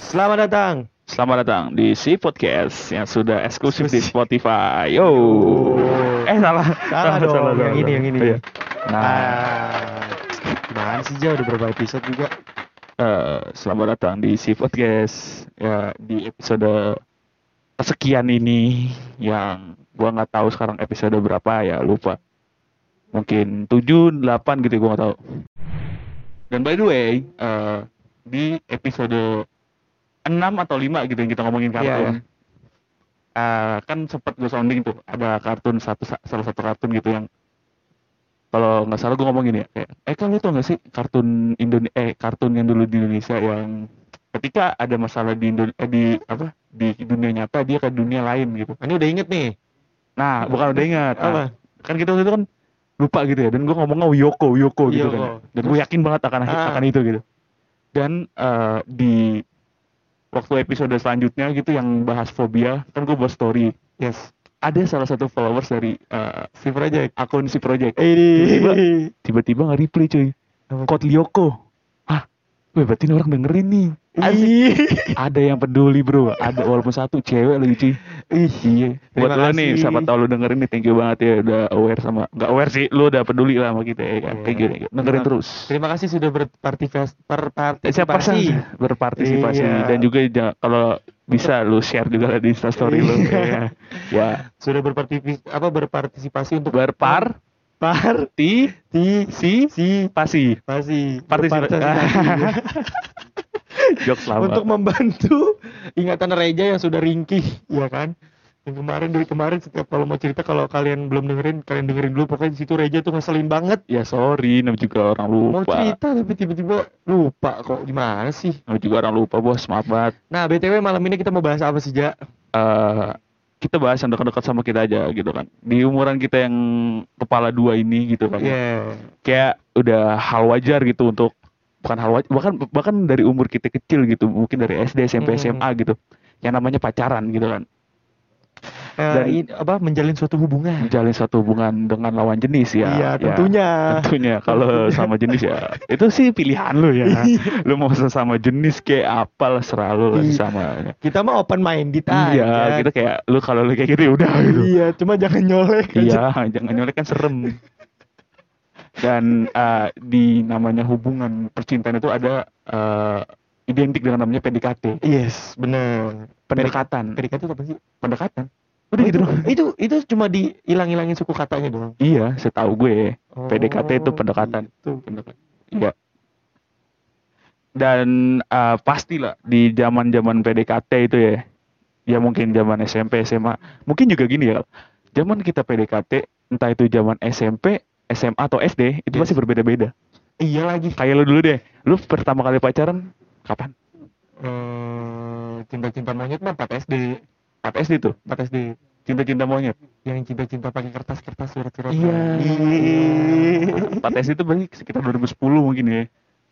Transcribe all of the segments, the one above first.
Selamat datang. Selamat datang di Si Podcast yang sudah eksklusif di Spotify. Yo. Eh salah. Salah dong, yang ini, yang ini. Iya. Nah, Ah, gimana sih jauh udah berapa episode juga? eh, selamat datang di Si Podcast ya di episode kesekian ini yang gua nggak tahu sekarang episode berapa ya lupa. Mungkin 7, 8 gitu gua nggak tahu. Dan by the way, eh, di episode 6 atau 5 gitu yang kita ngomongin kartun. Iya, iya. Ah, kan sempat gue sounding tuh ada kartun satu salah satu kartun gitu yang kalau nggak salah gue ngomong gini ya kayak eh kan lu tau nggak sih kartun Indonesia eh kartun yang dulu di Indonesia yang ketika ada masalah di Indo- eh, di apa di dunia nyata dia ke dunia lain gitu Ah, Ini udah inget nih. nah bukan udah ingat Nah, Apa? kan kita waktu itu kan lupa gitu ya dan gue ngomongnya Yoko Yoko gitu Yoko. kan dan gue yakin banget akan Ah. akan itu gitu dan eh, di waktu episode selanjutnya gitu yang bahas fobia kan gue buat story Yes. ada salah satu followers dari eh, Si Project. akun si project Tiba-tiba. Ini. tiba-tiba nggak reply cuy Apa? Kot Lyoko hah Weh, berarti ini orang dengerin nih Asik. Ih. ada yang peduli bro ada walaupun satu cewek lagi cuy Ih. Iya, buat Terima lo nih, kasih. siapa tau lo dengerin nih, thank you banget ya udah aware sama, nggak aware sih, lo udah peduli lah sama kita ya, kan? Iya. thank you, thank you. dengerin Terima- terus. Eh, Terima kasih sudah berpartisipasi. Siapa Berpartisipasi. saja berpartisipasi Iya. dan juga jangan- kalau bisa lo share juga lah di instastory lo, Iya. ya. ya. Sudah berpartisipasi apa berpartisipasi untuk Berpar, par ti, ti si, si pasi, pasti partisipasi. Jok lama. untuk membantu ingatan Reja yang sudah ringkih, ya kan? Yang kemarin dari kemarin setiap kalau mau cerita kalau kalian belum dengerin, kalian dengerin dulu pokoknya di situ Reja tuh ngeselin banget. Ya sorry, namanya juga orang Mau lupa. cerita tapi tiba-tiba lupa kok gimana sih? Namanya juga orang lupa bos, maaf banget. Nah, BTW malam ini kita mau bahas apa sih, Ja? eh kita bahas yang dekat-dekat sama kita aja gitu kan di umuran kita yang kepala dua ini gitu kan Yeah. kayak udah hal wajar gitu untuk bukan hal wajar bahkan bahkan dari umur kita kecil gitu mungkin dari SD SMP Hmm. SMA gitu yang namanya pacaran gitu kan Eh, Dan- ini apa menjalin suatu hubungan. menjalin satu hubungan dengan lawan jenis ya Iya, ya. tentunya. tentunya kalau sama jenis ya itu sih pilihan lu ya lu mau sesama jenis kayak apalah selalu lah Iya. Nah, sama Kita mah open minded iya aja. kita kayak lu kalau lu kayak gitu ya udah gitu Iya, cuma jangan nyolek. aja. Iya, jangan nyolek kan serem. Dan eh, di namanya hubungan percintaan itu ada eh, identik dengan namanya PDKT, Yes, bener. pendekatan, PDKT itu apa sih? pendekatan. Udah gitu doang. Itu itu cuma dihilang-hilangin suku katanya doang. Iya, setahu gue PDKT itu Oh, pendekatan. gitu. Iya. Dan eh, pastilah di zaman-zaman PDKT itu ya, ya mungkin zaman SMP, SMA, mungkin juga gini ya, zaman kita PDKT, entah itu zaman SMP, SMA atau SD, itu Yes. pasti berbeda-beda. Iya lagi. kayak lu dulu deh lu pertama kali pacaran kapan Eh, cinta-cinta monyet mah 4 SD, apa SD tuh 4 SD. cinta cinta monyet Yang cinta-cinta pakai kertas-kertas surat-surat. Iya. Iya. empat SD itu berarti sekitar 2010 mungkin ya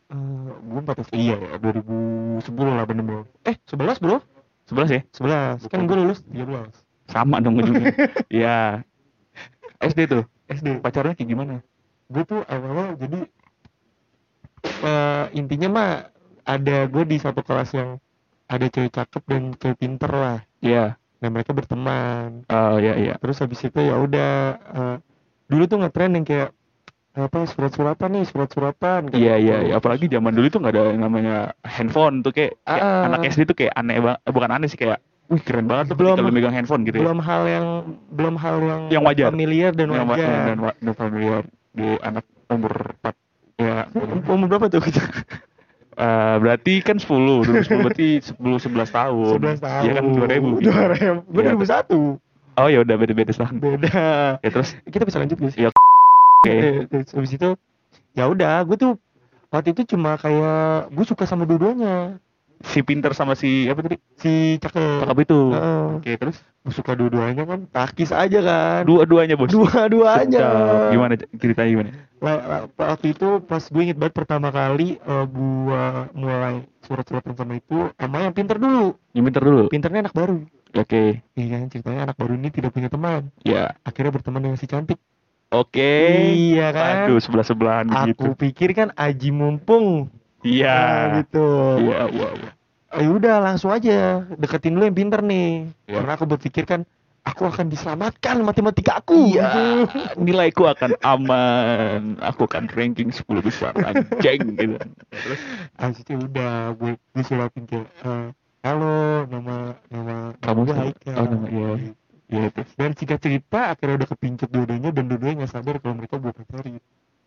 Eh, gua 4 SD. Iya, ya, 2010 lah bener bro. Eh, 11 bro? 11 ya 11. Kan gua lulus 13. sama dong ujungnya ya SD tuh SD. pacarnya kayak gimana Gua tuh awalnya jadi eh, intinya mah ada gua di satu kelas yang ada cewek cakep dan cewek pinter lah. ya Nah, mereka berteman. eh ya ya terus habis itu ya udah eh, dulu tuh ngetren yang kayak apa surat-suratan nih surat-suratan kayak Iya iya, gitu. iya. apalagi zaman dulu tuh nggak ada yang namanya handphone tuh kayak, kayak Ah. anak SD tuh kayak aneh banget, bukan aneh sih kayak, wih keren banget tuh Belum- ketika lu megang handphone gitu ya. belum hal yang belum hal yang, Yang wajar. familiar dan Yang- wajar yang- Dan, dan familiar di anak umur 4 ya umur berapa tuh Eh, berarti kan 10, 2010 berarti 10 11 tahun. 11 tahun Iya kan 2000. gitu. 2000 gue Iya. 2001 Oh ya udah beda-beda tahun. beda Ya terus kita bisa lanjut gak sih ya oke. Eh, terus habis itu ya udah gue tuh waktu itu cuma kayak gue suka sama dua-duanya Si pinter sama si apa tadi? si cakep Kakak itu. Heeh. Oke, terus gue suka dua-duanya kan takis aja kan dua-duanya bos. dua-duanya Sedap. Gimana ceritanya gimana? Wa- wa- waktu itu pas gue inget banget pertama kali eh, gua mulai surat-suratan sama itu emang yang pinter dulu Yang pinter dulu. pinternya anak baru Oke. iya kan ceritanya anak baru ini tidak punya teman Ya. akhirnya berteman dengan si cantik Oke. Eh, iya kan Aduh, sebelah-sebelahan aku gitu. pikir kan aji mumpung Iya. Nah, gitu Iya, iya, iya. ayo udah langsung aja deketin lu yang pinter nih Iya. karena aku berpikir kan aku akan diselamatkan matematika aku Iya. gitu. nilaiku akan aman. Aku akan ranking 10 besar anjing gitu. Terus Habis itu udah gue, gue sulatin ke eh, halo nama nama Kamu gue siapa? Haikal." Oh, nama- iya. ya itu. dan singkat cerita akhirnya udah kepincut dua-duanya dan dua-duanya nggak sadar kalau mereka bukan pacaran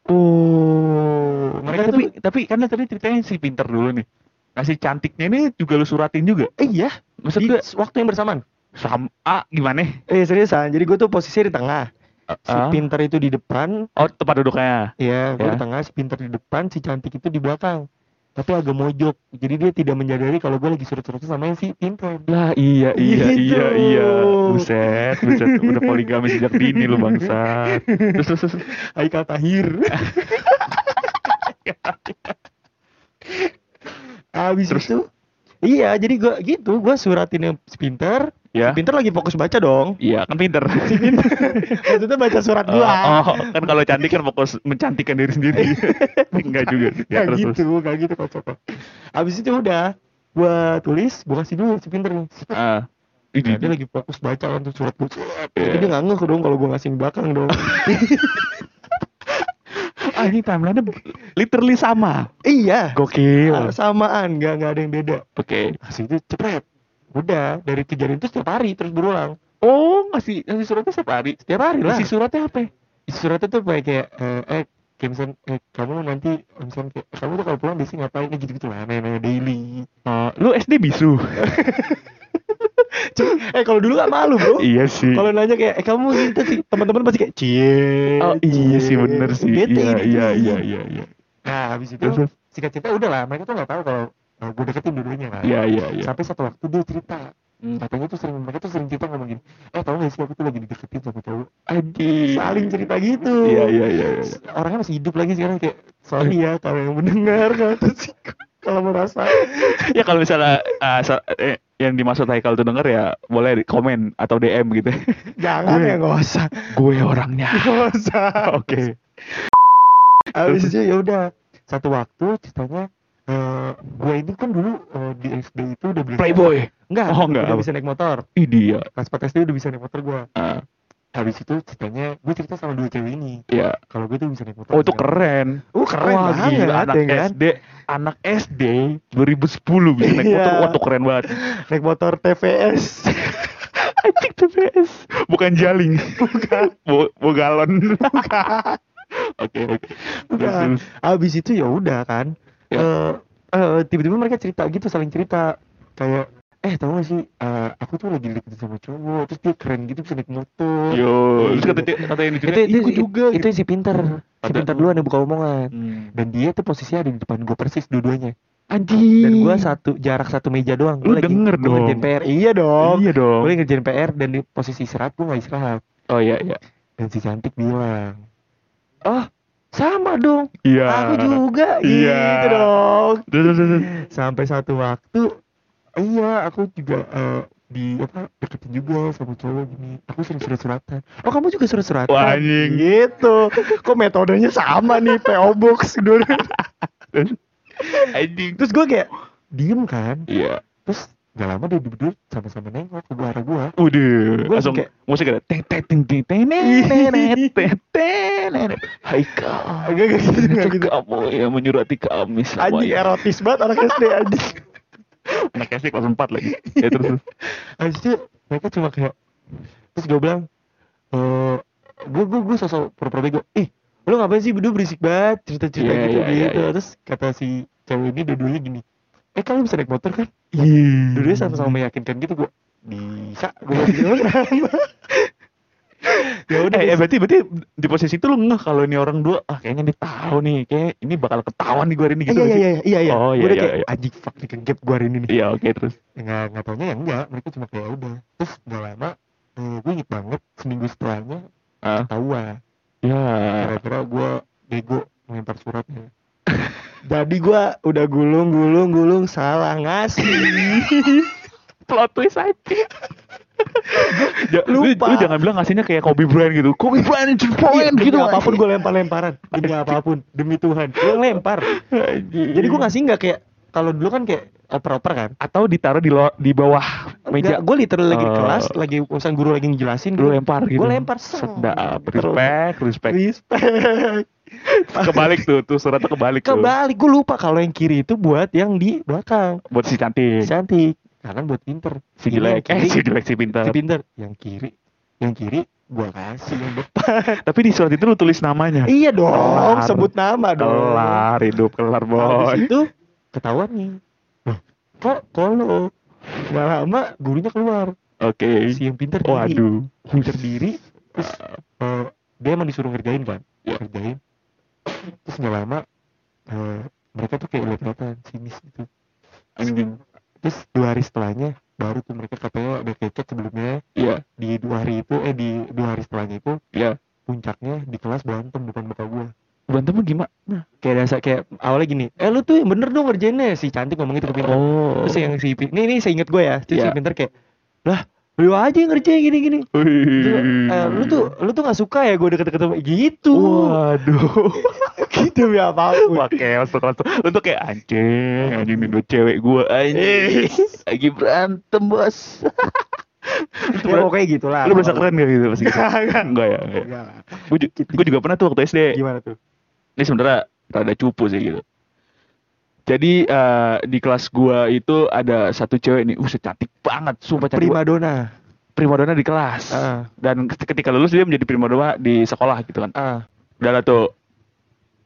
Oh, mereka tapi tapi karena tadi ceritanya si pinter dulu nih. Nah si cantiknya ini juga lu suratin juga. Eh, iya Maksud di gue waktu yang bersamaan sama ah, gimana? eh seriusan jadi gue tuh posisinya di tengah si Ah, pinter itu di depan oh tempat duduknya. ya gue Ya. di tengah si pinter di depan si cantik itu di belakang tapi agak mojok jadi dia tidak menyadari kalau gue lagi surut-surut sama si pinter Lah iya iya Gitu. iya iya. Buset, buset udah poligami sejak dini lu bangsa. Terus terus, terus. Haikal Tahir. Abis Terus? itu Iya, jadi gua gitu, gua suratin yang si pinter, ya. si pinter lagi fokus baca dong. Iya, kan pinter. Maksudnya baca surat Oh, gua. oh, kan kalau cantik kan fokus mencantikkan diri sendiri. Enggak juga. Nggak Ya, terus, terus. gitu, nggak gitu kocok. Abis itu udah gua tulis, gua kasih dulu si pinter nih. Ah. Ih, Nah, dia di- lagi fokus baca kan tuh surat buku. Jadi Iya. dia nggak ngeh dong kalau gua ngasih yang belakang dong. ah, ini timeline-nya literally sama. Ah, iya. Gokil. Samaan, nggak nggak ada yang beda. Oke. Kasih itu cepet. Udah, dari kejadian itu setiap hari terus berulang. Oh, ngasih ngasih suratnya setiap hari. Setiap hari lah. Isi suratnya apa? ya? Isi suratnya tuh kayak kayak eh, eh Kimson, eh, kamu nanti Kimson kayak eh, kamu tuh kalau pulang biasanya ngapain gitu gitu lah, nanya daily. Eh, lu SD bisu. Cuma, eh kalau dulu gak malu bro. iya sih. Kalau nanya kayak eh, kamu gitu sih teman-teman pasti kayak cie. Oh, cie." iya sih bener sih. Bete Iya gitu. iya iya iya iya. Nah habis itu Terus, terus. singkat cerita udah lah mereka tuh nggak tahu kalau eh, gue deketin dulunya kan. Iya iya iya. Sampai satu waktu dia cerita Hmm. katanya tuh sering mereka tuh sering cerita ngomong gini eh tau gak sih aku tuh lagi dideketin sama cowok Anjing. saling cerita gitu Iya iya iya. iya. orangnya masih hidup lagi sekarang kayak sorry ya kalau yang mendengar kalau tersinggung, kalau merasa Ya kalau misalnya eh, sa- eh, yang dimaksud Haikal tuh denger ya boleh di- komen atau DM gitu. jangan Gue- ya nggak usah Gue orangnya. nggak usah Oke. habis itu ya udah satu waktu ceritanya eh gue ini kan dulu eh, di SD itu udah bisa Playboy. enggak Oh, enggak, udah apa? bisa naik motor Ih dia. pas pas SD udah bisa naik motor gue Ah, habis itu ceritanya gue cerita sama dua cewek ini ya. kalau gue tuh bisa naik motor Oh itu keren. oh keren Wah, banget gila, anak ya kan? SD, anak SD 2010 bisa naik motor. Iya. Wah, tuh keren banget. naik motor TVS Anjing TPS. Bukan jaling. Bukan. Bo, bo galon. Bukan. Oke, oke. Terus, Bukan. terus. Iya. Abis itu ya udah kan. Ya. Eh, eh, tiba-tiba mereka cerita gitu saling cerita kayak eh tau gak sih eh, aku tuh lagi deket sama cowok terus dia keren gitu bisa naik motor Yo, terus kata kata yang itu, diculik, itu, "Ih, gitu?" gua juga. itu si pinter si Kata- pinter duluan yang buka omongan Hmm. dan dia tuh posisinya ada di depan gue persis dua-duanya Anjing. dan gue satu jarak satu meja doang Lu Gua lagi- denger gua dong. ngerjain PR iya dong Iya dong. gue lagi ngerjain PR dan di posisi istirahat gue gak istirahat Oh iya iya. dan si cantik bilang ah sama dong Iya. aku juga gitu Iya. dong Terus, terus, terus. sampai satu waktu iya aku juga eh, di apa deketin juga sama cowok gini aku sering surat suratan oh kamu juga surat suratan Wah, anjing. gitu kok metodenya sama nih PO box dulu Anjing. terus gue kayak diem kan Iya. terus gak lama dia berdua sama-sama nengok ke arah gue Udah, Gua Iya. langsung kayak- musik ada teng teng teng teng teng neng, neng, neng, teng teng neng. Haikal. agak gitu nggak gitu Kamu yang menyurati kami ya. selama anjing ini. erotis banget anak SD anjing Anak SD kelas 4 lagi. Ya terus. Habis itu mereka cuma kayak terus gue bilang eh gue gue gue sosok pura-pura bego ih lu ngapain sih berdua berisik banget cerita-cerita Iya, gitu iya, iya, gitu iya. terus kata si cewek ini dua-duanya gini eh kalian bisa naik motor kan Iya. dua-duanya sama-sama meyakinkan gitu gue bisa gue bilang gitu ya udah Eh, eh, berarti berarti di posisi itu lu ngeh kalau ini orang dua ah kayaknya dia tahu nih kayak ini bakal ketahuan nih gue hari ini gitu iya gak iya sih? iya iya iya Oh, Gua iya, udah iya, kayak iya. anjing fuck nih kegep gue hari ini nih Iya oke terus nggak nggak taunya ya enggak mereka cuma kayak "Ya udah terus gak lama eh, gue inget banget seminggu setelahnya ah ketahuan ya kira-kira gue bego melempar suratnya jadi gue udah gulung gulung gulung salah ngasih plot twist aja Ja- lu, Lupa. lu jangan bilang ngasihnya kayak Kobe Bryant gitu Kobe Bryant two point demi gitu Iya, apapun gue lempar lemparan demi apapun demi Tuhan gue lempar Anjing. jadi gue ngasih nggak kayak kalau dulu kan kayak oper-oper kan atau ditaruh di lo- di bawah meja gue literally lagi di Eh, kelas lagi urusan guru lagi ngejelasin lu gua- lempar gitu gua lempar, seng. Iya. sedap respect respect respect kebalik tuh tuh suratnya kebalik tuh kebalik gue lupa kalau yang kiri itu buat yang di belakang buat si Iya. cantik cantik kanan buat pinter Iya, si Ini jelek yang eh kiri, si jelek si pintar si pinter yang kiri yang kiri gua kasih yang depan tapi di surat itu lu tulis namanya iya dong Kelar. sebut nama dong kelar hidup kelar Habis boy itu ketahuan nih Loh, kok kolok Gak lama gurunya keluar oke si yang pinter diri waduh pinter diri terus eh, dia emang disuruh ngerjain kan ngerjain terus gak lama eh, mereka tuh kayak lihat-lihatan sinis gitu anjing terus dua hari setelahnya baru tuh mereka katanya ada kecet sebelumnya iya di dua hari itu eh di dua hari setelahnya itu iya puncaknya di kelas berantem depan muka gua Nah, bantemnya gimana kayak dasar kayak awalnya gini eh lu tuh yang bener dong ngerjainnya si cantik ngomong gitu ke pinter oh terus yang si pinter ini ini seinget gue ya terus Iya. si pinter kayak lah lu aja yang ngerjain gini gini eh, lu tuh lu tuh gak suka ya gue deket-deket sama gitu waduh gitu ya apapun pakai masuk kelas lu tuh kayak anjing anjing ini dua cewek gua anjing lagi berantem bos itu ya, pokoknya Iya. gitu lah lu berasa keren gak gitu pas gitu enggak ya enggak ya. Enggak lah. gua, ju- gua juga pernah tuh waktu SD Gitu. gimana tuh ini sebenarnya rada cupu sih gitu jadi eh, di kelas gua itu ada satu cewek nih, uh cantik banget, sumpah cantik banget. primadona primadona di kelas. Ah. Dan ketika lulus dia menjadi primadona di sekolah gitu kan. ah udah lah tuh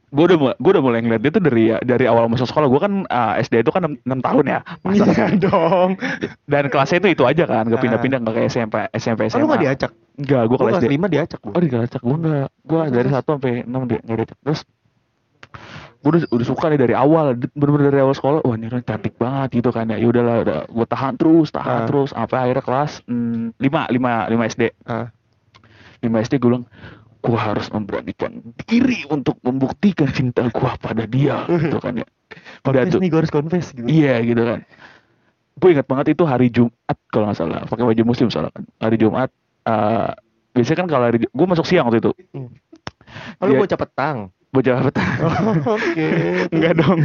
gue udah mulai, gue udah mulai ngeliat dia tuh dari dari awal masuk sekolah gue kan ah, SD itu kan 6, tahun ya masa iya dong dan kelasnya itu itu aja kan gak Ah. pindah-pindah nggak kayak SMP SMP oh, SMA lu gak diacak enggak gue Gua kelas kelas D lima diacak oh gue di kelas gue enggak gue dari Terus? satu sampai enam dia nggak diajak terus gue udah, udah suka nih dari awal bener-bener dari awal sekolah wah ini orang cantik banget gitu kan ya ya udahlah udah gue tahan terus Ah. tahan terus sampai akhirnya kelas hmm, lima lima lima SD ah. 5 SD gue bilang gue harus memberanikan diri untuk membuktikan cinta gue pada dia gitu kan ya udah confess tuh nih gue harus confess gitu iya gitu kan gue ingat banget itu hari Jumat kalau nggak salah pakai baju muslim soalnya kan hari Jumat eh biasanya kan kalau hari gue masuk siang waktu itu oh, lu Iya. bocah petang bocah petang Oh, oke Enggak dong.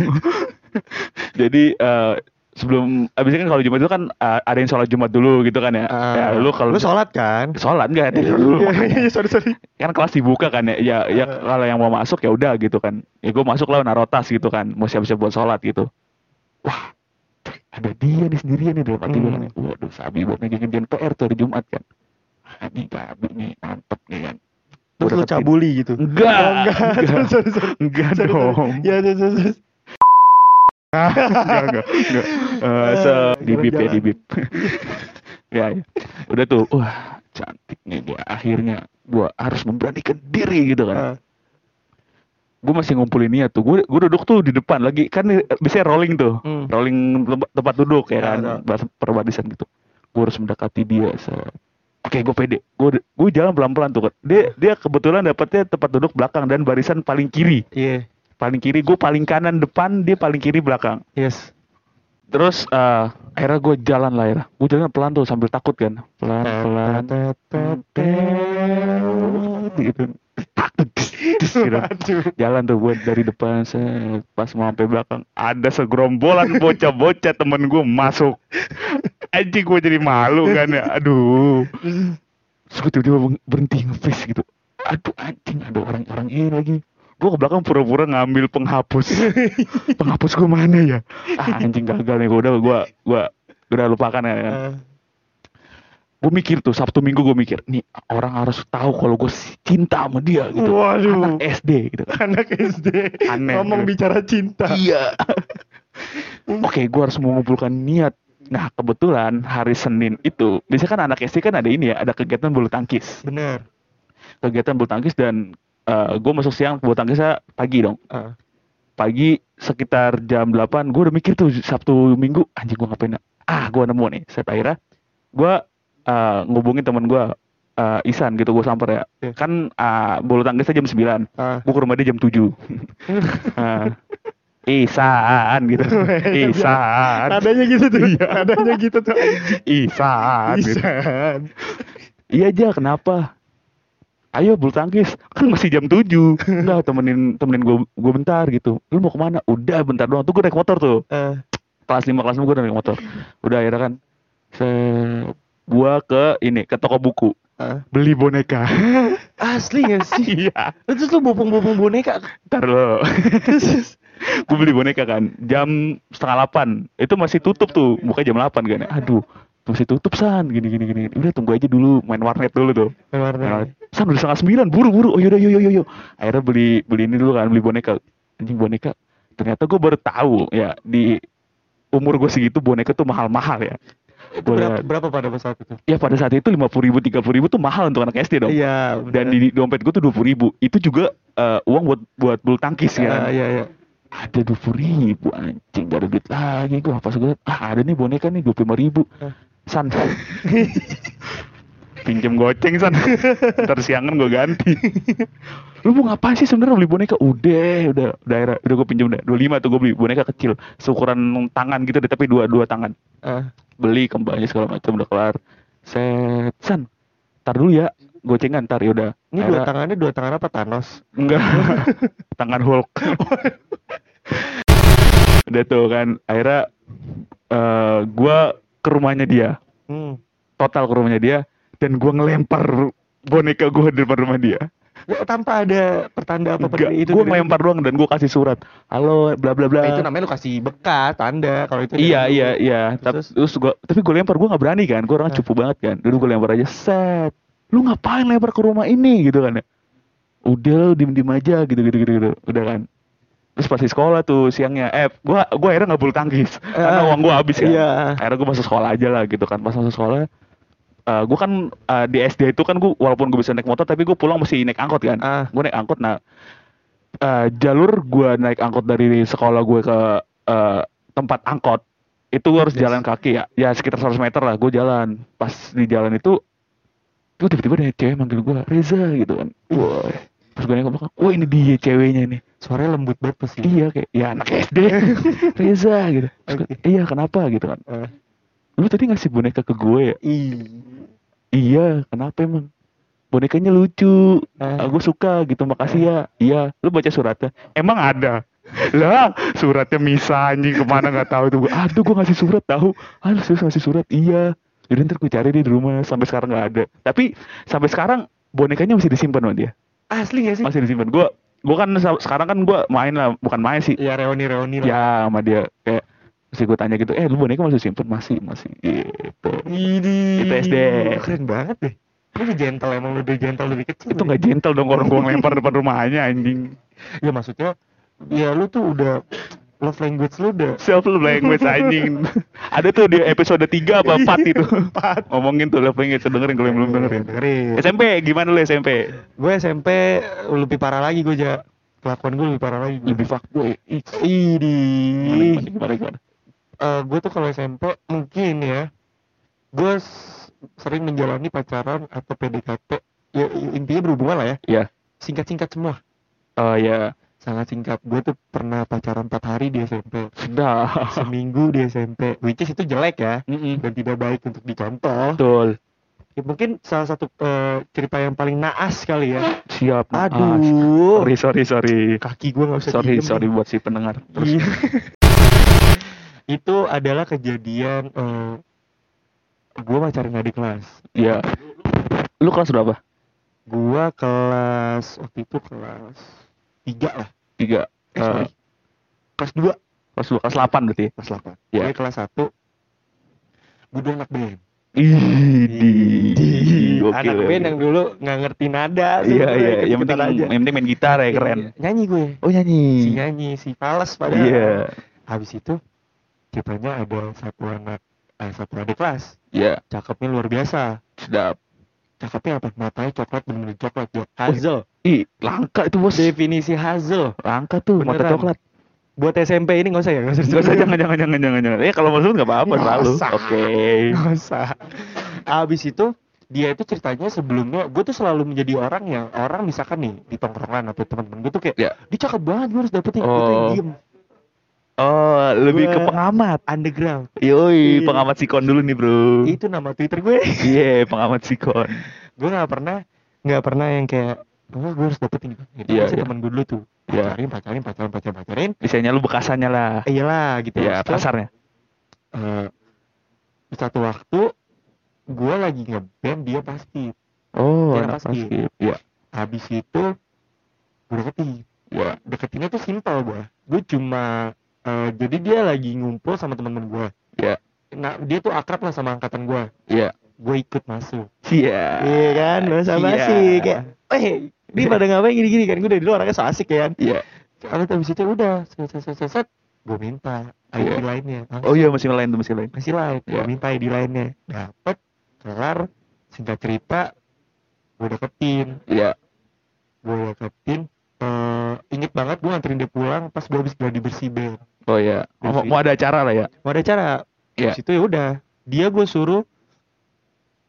Jadi eh, sebelum abisnya kan kalau Jumat itu kan eh, ada yang sholat Jumat dulu gitu kan ya. ya Ah. lu kalau lu sholat kan sholat enggak Iya, iya, sorry sorry kan kelas dibuka kan ya ya, Iya. ya kalau yang mau masuk ya udah gitu kan ya gue masuk lah naruh tas gitu kan mau siap-siap buat sholat gitu wah ada dia nih sendirian nih dalam hati gue Hmm. kan ya. waduh sabi buat ngejain PR tuh hari Jumat kan ah, ini sabi nih mantep nih kan terus Udah lu ketik- cabuli gitu enggak Oh, enggak sorry sorry sorry enggak Sorry, sorry. dong ya terus terus terus. enggak enggak enggak Eh, se- di bip ya di bip ya, ya. udah tuh wah cantik nih gue akhirnya gue harus memberanikan diri gitu kan Ah, gue masih ngumpulin niat tuh gue gue duduk tuh di depan lagi kan eh, biasanya rolling tuh Hmm. rolling tempat- tempat duduk ya Ya, kan tau. bas- perbadisan gitu gue harus mendekati dia so. oke gue pede gue gue jalan pelan pelan tuh dia dia kebetulan dapetnya tempat duduk belakang dan barisan paling kiri iya paling kiri gue paling kanan depan dia paling kiri belakang yes terus eh akhirnya gue jalan lah akhirnya gue jalan pelan tuh sambil takut kan pelan Nah, pelan gitu Tak, tes, tes, gitu. Waduh. jalan tuh gue dari depan set, pas mau sampai belakang ada segerombolan bocah-bocah temen gue masuk anjing gue jadi malu kan ya aduh Terus gue tiba-tiba beng- berhenti ngepis gitu aduh anjing ada orang-orang ini lagi gue ke belakang pura-pura ngambil penghapus penghapus gue mana ya ah, anjing gagal nih gue udah gue gue udah lupakan ya, ya Ah, gue mikir tuh Sabtu Minggu gue mikir nih orang harus tahu kalau gue cinta sama dia gitu waduh anak SD gitu anak SD Aneh. ngomong bicara cinta iya oke gue harus mengumpulkan niat nah kebetulan hari Senin itu biasanya kan anak SD kan ada ini ya ada kegiatan bulu tangkis bener kegiatan bulu tangkis dan gue masuk siang bulu tangkisnya pagi dong Ah, pagi sekitar jam 8 gue udah mikir tuh Sabtu Minggu anjing gue ngapain ah gue nemu nih set akhirnya gue eh, ngubungin teman gue eh, Isan gitu gue samper ya Iya. kan eh, bulu tangkisnya jam 9 ah. gue ke rumah dia jam 7 Eh, Isan gitu Isan Nadanya gitu tuh Iya. nadanya gitu tuh anjing. Isan gitu. Isan Iya aja kenapa? Ayo bulu tangkis kan masih jam 7 Enggak temenin temenin gue gue bentar gitu. Lu mau kemana? Udah bentar doang. Tuh gue naik motor tuh. Ah, kelas 5 kelas 6 gue udah naik motor udah akhirnya kan se gua ke ini ke toko buku Hah? beli boneka Ah. Asli gak sih? iya Terus lu bopong-bopong boneka. ntar lo gue beli boneka kan jam setengah delapan itu masih tutup tuh buka jam delapan kan aduh masih tutup san gini gini gini udah tunggu aja dulu main warnet dulu tuh Nah, Warna. San udah setengah sembilan, buru-buru. Oh yaudah, yuk, yuk, yuk, yuk. Akhirnya beli beli ini dulu kan, beli boneka. Anjing boneka. Ternyata gue baru tahu ya di umur gue segitu boneka tuh mahal-mahal ya. Gua Berapa, liat. berapa pada saat itu? Ya pada saat itu lima puluh ribu, tiga puluh ribu tuh mahal untuk anak SD dong. Iya. Dan di dompet gue tuh dua ribu. Itu juga eh, uang buat buat bulu tangkis bener. Ah, ya. Iya, iya. Ada dua ribu anjing, gak ada duit lagi. Gue pas gue ah ada nih boneka nih dua ribu. Hah. San, pinjem goceng san ntar siangan gue ganti lu mau ngapain sih sebenarnya beli boneka udah udah daerah udah gue pinjem dua lima tuh gue beli boneka kecil seukuran tangan gitu deh tapi dua dua tangan Ah. beli kembangnya segala macam udah kelar set san ntar dulu ya gocengan ntar yaudah Ini dua Akhirnya- tangannya dua tangan apa Thanos? Enggak. Tangan Hulk. Udah tuh kan. Akhirnya eh gua ke rumahnya dia. Hmm. Total ke rumahnya dia dan gua ngelempar boneka gua di depan rumah dia. Ya, Tanpa ada pertanda apa pada Enggak, itu. gua dari- ngelempar doang dan gua kasih surat. Halo, bla bla bla. Nah, itu namanya lu kasih bekas tanda kalau itu. Iya dari lu. iya iya. gitu Tapi kan. Terus? terus gua tapi gua lempar gua nggak berani kan. Gua orang Nah. cupu banget kan. Dulu gua lempar aja set. Lu ngapain lempar ke rumah ini gitu kan ya. Udah lu diem-diem aja gitu gitu gitu, gitu. Udah kan. Terus pas di sekolah tuh siangnya eh gua gua akhirnya nggak bulu tangkis karena Ah, uang gua habis kan. iya. Akhirnya gua masuk sekolah aja lah gitu kan. Pas masuk sekolah eh gua kan eh, di SD itu kan gua walaupun gua bisa naik motor tapi gua pulang mesti naik angkot kan. Ah. Gua naik angkot nah eh, jalur gua naik angkot dari sekolah gue ke eh, tempat angkot itu gua harus Yes. jalan kaki ya ya sekitar 100 meter lah gue jalan pas di jalan itu gue tiba-tiba ada cewek manggil gue Reza gitu kan wah terus gue nengok ke belakang wah ini dia ceweknya nih Suaranya lembut banget pasti. iya kayak ya anak SD Reza gitu Terus gua, iya kenapa gitu kan Ah. lu tadi ngasih boneka ke gue ya Ih. iya kenapa emang bonekanya lucu Ah. aku suka gitu makasih ya iya lu baca suratnya emang ada lah suratnya misa anjing kemana nggak tahu tuh Gua, aduh gua ngasih surat tahu aduh serius ngasih surat iya jadi ntar gue cari deh di rumah sampai sekarang nggak ada tapi sampai sekarang bonekanya masih disimpan sama dia Asli gak sih? masih disimpan gua gua kan sa- sekarang kan gua main lah bukan main sih Iya reuni reuni lah. ya sama dia kayak mesti gue tanya gitu eh lu boneka masih simpen masih masih gitu Ini. Itu SD. Keren banget deh. Lu udah gentle emang udah gentle dari kecil. itu ya? nggak gentle dong orang gua ngelempar depan rumahnya anjing Ya maksudnya ya lu tuh udah love language lu udah self love language anjing. Ada tuh di episode 3 Iya, apa 4 itu. Ngomongin tuh love language dengerin kalau yang belum dengerin. dengerin. SMP gimana lu SMP? Gue SMP lebih parah lagi gue ja. Kelakuan gue lebih parah lagi. Lebih fuckboy. Ih, Ih, di. Gimana, gimana, gimana? Eh, gue tuh kalau SMP mungkin ya gue s- sering menjalani pacaran atau PDKT ya i- intinya berhubungan lah ya Ya. singkat-singkat semua Oh ya, sangat singkat gue tuh pernah pacaran 4 hari di SMP sudah. seminggu di SMP which is itu jelek ya Mm-mm. dan tidak baik untuk dicontoh Betul. Ya, mungkin salah satu eh, cerita yang paling naas kali ya Siap. maaf. aduh Ah, Sorry, sorry, sorry. kaki gue nggak bisa diem. Sorry, sorry buat si pendengar. Terus Iya. itu adalah kejadian eh gue pacaran adik kelas ya. Lu kelas berapa? gua kelas waktu itu kelas tiga lah 3. eh, sorry. kelas dua kelas 2, kelas 8 berarti. ya? kelas delapan Iya. Gue kelas satu gue dulu anak band Ih, di. Oke. anak band yang ya, dulu nggak ngerti nada Iya, sebenarnya, iya, yang ikut-ikutan penting yang penting main gitar ya keren. Iya, nyanyi gue Oh nyanyi. si nyanyi si fales Iya. pada habis itu ceritanya ada satu anak eh, satu adik kelas Ya, cakepnya luar biasa sedap. cakepnya apa matanya coklat bener-bener coklat ya hazel Ih, langka itu bos. definisi hazel Langka tuh mata Beneran. coklat. buat SMP ini nggak usah ya nggak usah Enggak usah disebutin. jangan jangan jangan jangan jangan. Eh kalau maksud nggak apa-apa Nggak selalu. usah. Oke. Nggak usah. Abis itu dia itu ceritanya sebelumnya gue tuh selalu menjadi orang yang orang misalkan nih di tongkrongan atau teman-teman gue tuh kayak Ya. dia cakep banget gue harus dapetin gue tuh yang Oh. diem Oh, lebih ke Gua- pengamat. underground Iya. Yoi, pengamat sikon dulu nih, Bro. itu nama twitter gue Iya, pengamat sikon. gue nggak pernah nggak pernah yang kayak oh, gue harus dapetin gitu Iya, Biasanya iya. temen gue dulu tuh Iya. pacarin pacarin pacarin pacarin pacarin Misalnya lu bekasannya lah. iyalah gitu Ya, Terus kasarnya. eh, satu waktu gue lagi ngeband dia pasti Oh, Kira anak pasti. pasti. Ya, habis itu gue deketin ya. deketinnya tuh simpel gue gue cuma eh, jadi dia lagi ngumpul sama teman-teman gue Iya. nah dia tuh akrab lah sama angkatan gue Iya. gue ikut masuk Iya. iya kan bahasa Iya. basi kayak eh ini pada ngapain gini-gini kan gue dari dulu orangnya so asik ya kan Iya. Habis habis itu udah set set set, set set gue minta ID Iya. lainnya Ah, Oh iya masih lain tuh masih lain. masih lain gue Iya. minta ID lainnya dapet kelar singkat cerita gue deketin Iya. gue deketin Eh, inget banget gue nganterin dia pulang pas gue habis gladi bersih band Oh iya. Mau, mau ada acara lah ya. mau ada cara Iya. Habis itu ya udah dia gue suruh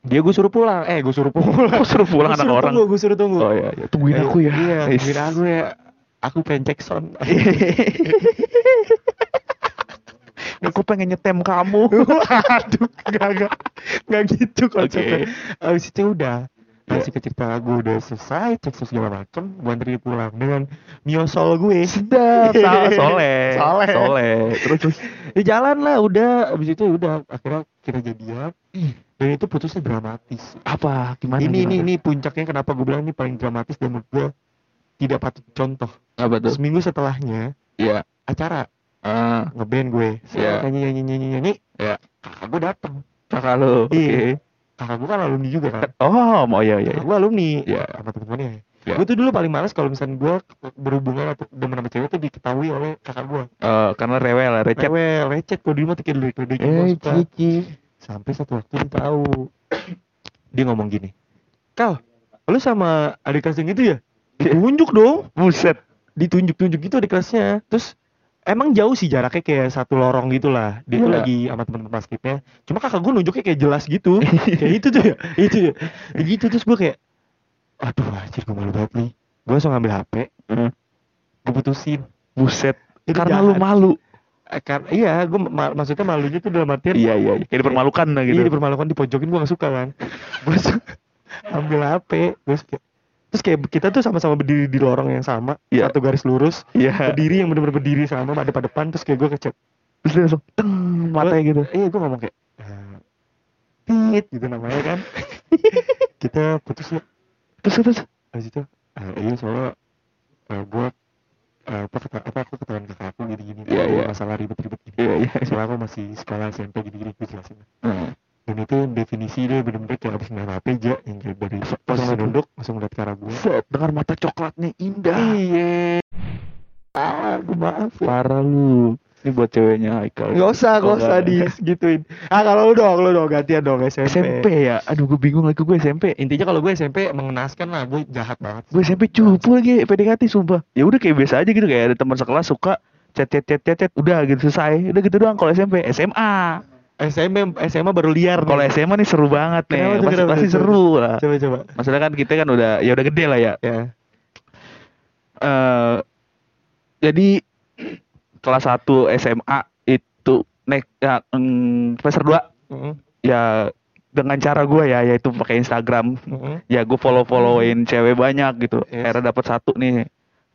dia gue suruh pulang eh gue suruh pulang Kok suruh Gua pulang anak suruh orang. tunggu, gue suruh tunggu Oh iya, iya. Tungguin Eh, aku ya. iya Is. tungguin aku ya aku pengen cek sound aku pengen nyetem kamu. aduh gak gak gak gitu konsepnya Oke. habis itu ya udah Iya. masih cerita gue udah selesai cek sound segala macem gue anterin dia pulang dengan miosol gue Sedap, sa- soleh, Soleh. soleh. Terus, terus. ya jalan lah udah habis itu ya udah akhirnya kita jadian dan itu putusnya dramatis apa? Gimana? ini ini gimana? ini puncaknya kenapa gue bilang ini paling dramatis dan menurut gue tidak patut contoh Apa tuh? seminggu setelahnya Iya. acara Ah, ngeband gue Iya. nyanyi nyanyi nyanyi nyanyi Iya. kakak gue dateng kakak lu. Oke. Iya. kakak gue kan alumni juga kan Oh, mau ya ya. kakak gue alumni Iya. sama temen-temennya Iya. gue tuh dulu paling males kalau misalnya gue berhubungan atau demen sama cewek tuh diketahui oleh kakak gue Eh, karena rewel, recep. cewek lecet gue di rumah tuh kayak diledek-ledekin, gua Eh, suka. cici. sampai satu waktu dia tahu dia ngomong gini kau lu sama adik kelas yang itu ya ditunjuk dong Buset. ditunjuk-tunjuk gitu adik kelasnya terus emang jauh sih jaraknya kayak satu lorong gitu lah dia tuh Iya. lagi sama teman-teman basketnya cuma kakak gue nunjuknya kayak jelas gitu kayak itu tuh ya itu ya Kayak gitu terus gue kayak aduh anjir gue malu banget nih gue langsung ngambil hp Heeh. gue putusin Buset. Itu jahat. karena lu malu. Eh, kar- iya gue ma- maksudnya malunya tuh dalam artian Iya, iya. Kayak dipermalukan lah gitu. Iya dipermalukan dipojokin gue gak suka kan Gue su- ambil HP Terus kayak Terus kayak kita tuh sama-sama berdiri di lorong yang sama Iya. Satu garis lurus Iya. Berdiri yang bener-bener berdiri sama pada depan Terus kayak gue kecek Terus dia langsung teng matanya gitu. Iya gue ngomong kayak "Eh, Tit gitu namanya kan Kita putus ya Terus terus. Habis itu "Eh, Iya soalnya eh, Gue eh, apa, kata, apa aku ketahuan kakak aku gini-gini Iya, iya. Masalah ribet-ribet gitu Iya, iya. Soalnya aku masih sekolah SMP gini-gini Gue jelasin Heeh. dan itu definisi dia bener-bener kayak abis main HP aja yang kayak dari posisi duduk langsung ngeliat ke arah gue Buset, dengar mata coklatnya indah. iya ah gue maaf ya Parah lu. Ini buat ceweknya Haikal. Gak usah, Oh, gak usah nggak. di gituin Ah kalau lu dong, lu dong gantian dong SMP SMP ya. Aduh, gue bingung lagi gue SMP. Intinya kalau gue SMP mengenaskan lah, gue jahat banget gue SMP cupu lagi PDKT sumpah ya udah kayak biasa aja gitu kayak ada teman sekelas suka chat chat chat chat chat udah gitu selesai udah gitu doang kalau SMP SMA SMP, SMA baru liar nih. kalau SMA nih seru banget Iya. Kenapa nih tuh, pasti, kenapa pasti tuh? seru lah Coba, coba masalah kan kita kan udah ya udah gede lah ya Ya, Eh jadi kelas 1 SMA itu naik ya, mm, semester 2 Mm-mm. ya dengan cara gue ya yaitu pakai Instagram Mm-mm. ya gue follow followin cewek banyak gitu Hmm. Yes. akhirnya dapat satu nih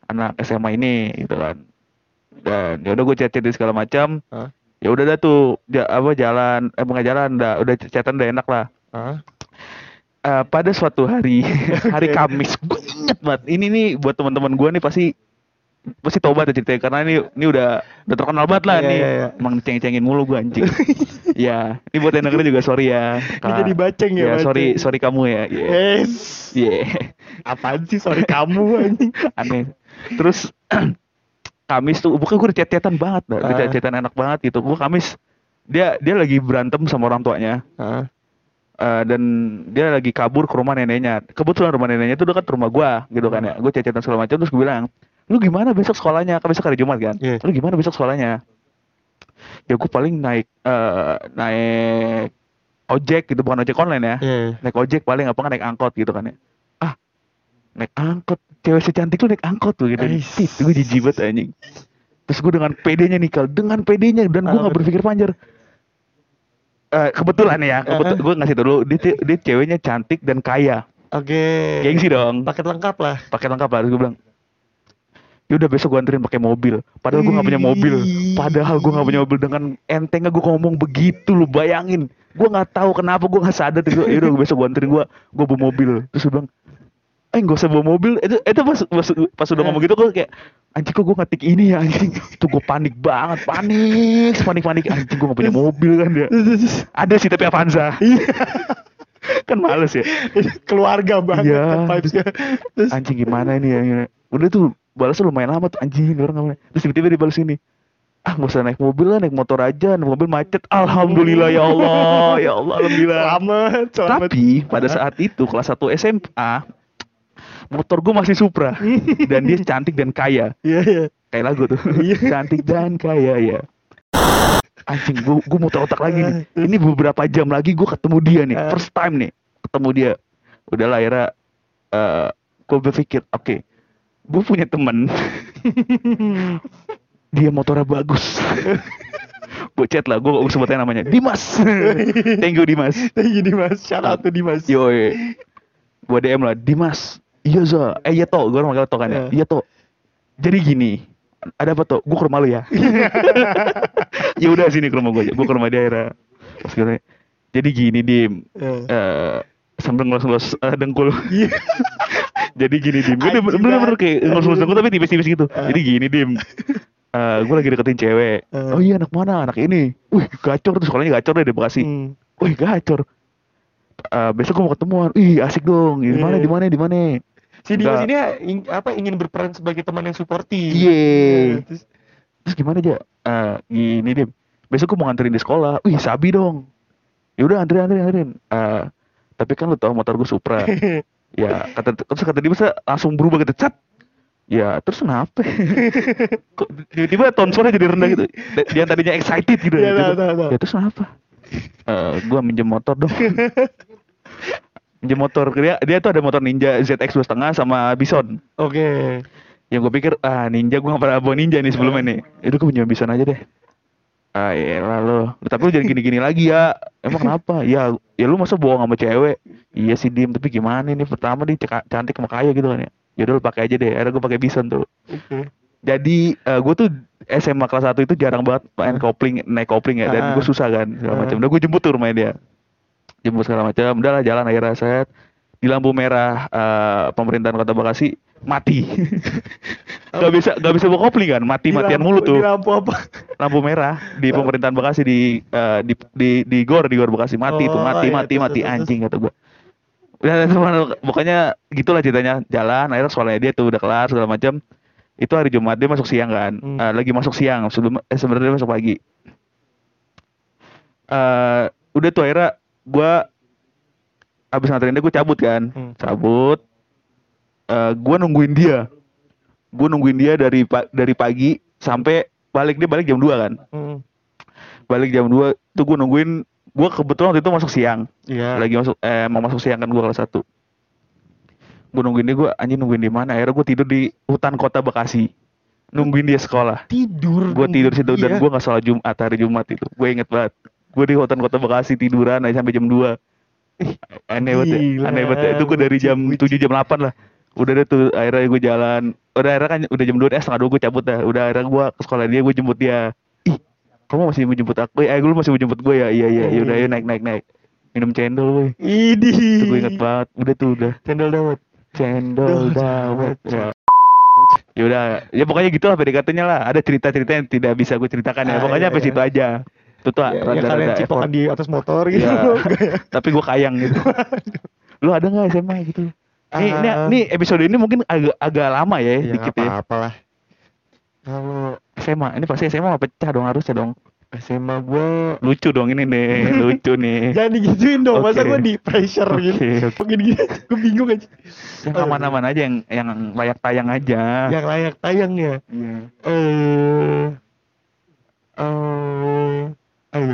anak SMA ini gitu kan dan ya udah gue chat chatin segala macam Hah? ya udah dah tuh ja- apa jalan eh bukan jalan dah udah chatan udah enak lah Ah. Eh, pada suatu hari hari Oke. Kamis gue inget banget ini nih buat teman-teman gue nih pasti pasti tobat ya ceritanya karena ini ini udah udah terkenal banget lah Iya, nih iya, iya. emang diceng-cengin mulu gue anjing ya ini buat yang dengerin juga sorry ya Ini jadi baceng ya, baceng. sorry sorry kamu ya Iya. Yes Iya. Apaan sih, sorry kamu anjing aneh terus Kamis tuh bukan gue chat-chatan banget dah, Ah. chat-chatan enak banget gitu gue Kamis dia dia lagi berantem sama orang tuanya Ah. Eh, dan dia lagi kabur ke rumah neneknya kebetulan rumah neneknya tuh dekat rumah gua gitu kan ya gue chat-chatan segala macam terus gue bilang lu gimana besok sekolahnya kan besok hari Jumat kan Iya. lu gimana besok sekolahnya ya gue paling naik eh, naik ojek gitu bukan ojek online ya Iya, naik ojek paling apa nggak naik angkot gitu kan ya ah naik angkot cewek secantik lu naik angkot tuh gitu Eish. Tit, gue jijik banget anjing terus gue dengan pedenya nih kal dengan pedenya dan gue Apa nggak tuh? berpikir panjang Eh kebetulan ya kebetulan Aha. gue ngasih tau dulu dia, ce- dia ceweknya cantik dan kaya oke gengsi dong Paket lengkap lah paket lengkap lah Terus gue bilang yaudah "Ya besok gue anterin pakai mobil padahal gue nggak punya mobil padahal gue nggak punya mobil dengan entengnya gue ngomong begitu lu bayangin gue nggak tahu kenapa gue nggak sadar itu yaudah besok gue anterin gue gue bawa mobil terus gue bilang eh gak usah bawa mobil itu itu pas pas, pas udah ngomong gitu gue kayak anjing kok gue ngetik ini ya anjing tuh gue panik banget panik panik panik anjing gue gak punya mobil kan dia ada sih tapi Avanza Iya. Iya. kan males ya keluarga banget Iya. kan vibes-nya. Terus anjing gimana ini ya gimana? udah tuh balasnya lumayan lama tuh anjing ini orang ngapain terus tiba-tiba dibalas ini ah nggak usah naik mobil lah naik motor aja naik mobil macet alhamdulillah ya Allah ya Allah alhamdulillah selamat, selamat. tapi pada saat itu kelas 1 SMA motor gue masih Supra dan dia cantik dan kaya Iya, iya. kayak lagu tuh Iya. cantik dan kaya ya anjing gue gue muter otak lagi nih ini beberapa jam lagi gue ketemu dia nih Ah. first time nih ketemu dia udah lah akhirnya eh gue berpikir oke gue punya temen Hmm. dia motornya bagus gue chat lah gue gak usah sebutin namanya Dimas thank you Dimas Thank you Dimas, shout out to Dimas. Yo, gue DM lah, Dimas. Iya za, eh iya toh, gue manggil toh kan ya. Iya. Iya toh. Jadi gini, ada apa toh? Gue ke rumah lu ya. ya udah sini ke rumah gue aja. Gue ke rumah dia akhirnya. Terus gue tanya, Jadi gini Dim, Eh. Eh, sambil ngelos-ngelos eh, dengkul. Iya. Jadi gini Dim, gue Anjing bener-bener banget. kayak ngelos-ngelos dengkul tapi tipis-tipis gitu. Eh. Jadi gini Dim, Eh gue lagi deketin cewek. Eh. Oh iya anak mana? Anak ini. Wih gacor tuh sekolahnya gacor deh di Bekasi. Hmm. Wih gacor. Eh besok gue mau ketemuan. Ih asik dong. Di mana? Iya. Di mana? Di mana? Si Dimas Enggak. ini ya, ing- apa ingin berperan sebagai teman yang suportif. Iya. Terus, Terus gimana aja? Eh gini deh. Besok gue mau nganterin di sekolah. Wih sabi dong. Ya udah anterin anterin anterin. Eh tapi kan lu tau motor gue Supra. ya kata terus kata dia masa langsung berubah gitu cat. Ya terus kenapa? Kok tiba-tiba tone suara jadi rendah gitu. D- Dia tadinya excited gitu. Iya, Tiba- tahu, tahu, tahu. Ya terus kenapa? Eh gue minjem motor dong. minjem motor dia dia tuh ada motor Ninja ZX 2.5 sama Bison Oke. yang gue pikir ah Ninja gue gak pernah bawa Ninja nih sebelumnya nih itu gue pinjam Bison aja deh ah iya lo tapi lu jadi gini-gini lagi ya emang kenapa ya ya lu masa bohong sama cewek iya sih Dim tapi gimana nih pertama dia ceka- cantik sama kaya gitu kan ya yaudah lu pakai aja deh akhirnya gue pakai Bison tuh Oke. jadi eh, gue tuh SMA kelas 1 itu jarang banget main kopling naik kopling ya Ah. dan gue susah kan Ah. segala macam udah gue jemput tuh rumahnya dia jemput segala macam udah lah jalan akhirnya set di lampu merah eh, pemerintahan kota Bekasi mati gak bisa gak bisa bawa kopling kan mati matian Di mulu lampu- tuh Di lampu apa? lampu merah di pemerintahan Bekasi di eh, di di di gor di gor Bekasi mati tuh Oh, mati iya, mati terus, mati terus, terus. anjing kata gua. Udah, udah, udah, pokoknya gitulah ceritanya jalan akhirnya sekolahnya dia tuh udah kelar segala macam itu hari Jumat dia masuk siang kan Hmm. Eh, lagi masuk siang sebelum eh, sebenarnya dia masuk pagi Eh, udah tuh akhirnya gua abis nganterin dia gue cabut kan Hmm. cabut Eh, gua nungguin dia gue nungguin dia dari pa- dari pagi sampai balik dia balik jam 2 kan Hmm. balik jam 2 tuh gue nungguin gue kebetulan waktu itu masuk siang Iya. lagi masuk eh mau masuk siang kan gue kelas satu gue nungguin dia gue anjing nungguin di mana akhirnya gue tidur di hutan kota Bekasi nungguin dia sekolah tidur. gue tidur situ Iya. dan gue nggak salah Jumat hari Jumat itu gue inget banget gue di hutan kota Bekasi tiduran aja sampai jam 2 aneh banget ya Gila, aneh banget ya. itu gue dari jam 7 jam 8 lah udah deh tuh akhirnya gue jalan udah akhirnya kan udah jam 2 eh setengah 2 gue cabut dah udah akhirnya gue ke sekolah dia gue jemput dia ih kamu masih mau jemput aku eh lu masih mau jemput gue ya iya iya Iya, yaudah iya. ayo naik naik naik minum cendol woi Idi. itu gue inget banget udah tuh udah Cendol dawet. cendol Duh, dawet cendol. ya Yaudah, ya pokoknya gitu lah PDKT-nya lah. Ada cerita-cerita yang tidak bisa gue ceritakan Ah, ya. Pokoknya iya, sampai iya. situ aja. Itu tuh Ya, ya, kalian rada-rada cipokan effort. di atas motor gitu. Iya. Enggak ya? Tapi gue kayang gitu. Lu ada nggak SMA gitu? Nih, ini, Ah. nih episode ini mungkin agak agak lama ya, Ya, dikit nggak ya. apa-apa lah. Kalau SMA, ini pasti SMA mah pecah dong harusnya dong. SMA gue Lucu dong ini nih, lucu nih. jangan digituin dong masa Oke. gue di pressure gitu Oke, oke. mungkin gitu gue bingung aja Yang aman-aman aja, yang yang layak tayang aja. yang layak ya? tayangnya Iya. eh eh ayo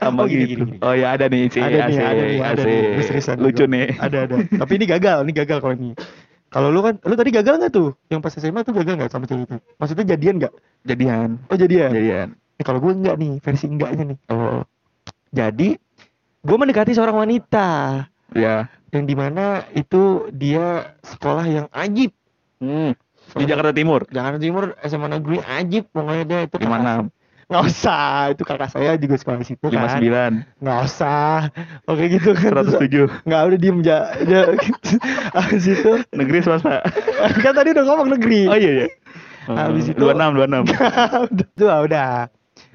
Sama Oh, gini, gitu. gini, gini. Oh ya ada nih sih, ada nih asik, ada nih ada nih asik. Seriusan, Lucu gua- nih. ada ada tapi ini gagal ini gagal kalau ini kalau lu kan lu tadi gagal nggak tuh yang pas SMA tuh gagal nggak sama cewek itu maksudnya jadian nggak Jadian, oh jadian jadian. Nih, kalau gue enggak nih versi enggaknya nih Oh, jadi gue mendekati seorang wanita ya. yang dimana itu dia sekolah yang ajib Hmm. di Jakarta Timur Jakarta Timur SMA negeri ajib pokoknya deh itu kakak- 56 nggak usah itu kakak saya juga sekolah di situ kan 59 nggak usah oke gitu kan Terus, 107 nggak udah diem aja aja abis itu negeri swasta kan tadi udah ngomong negeri oh iya iya Habis itu- 26 26 udah tuh, udah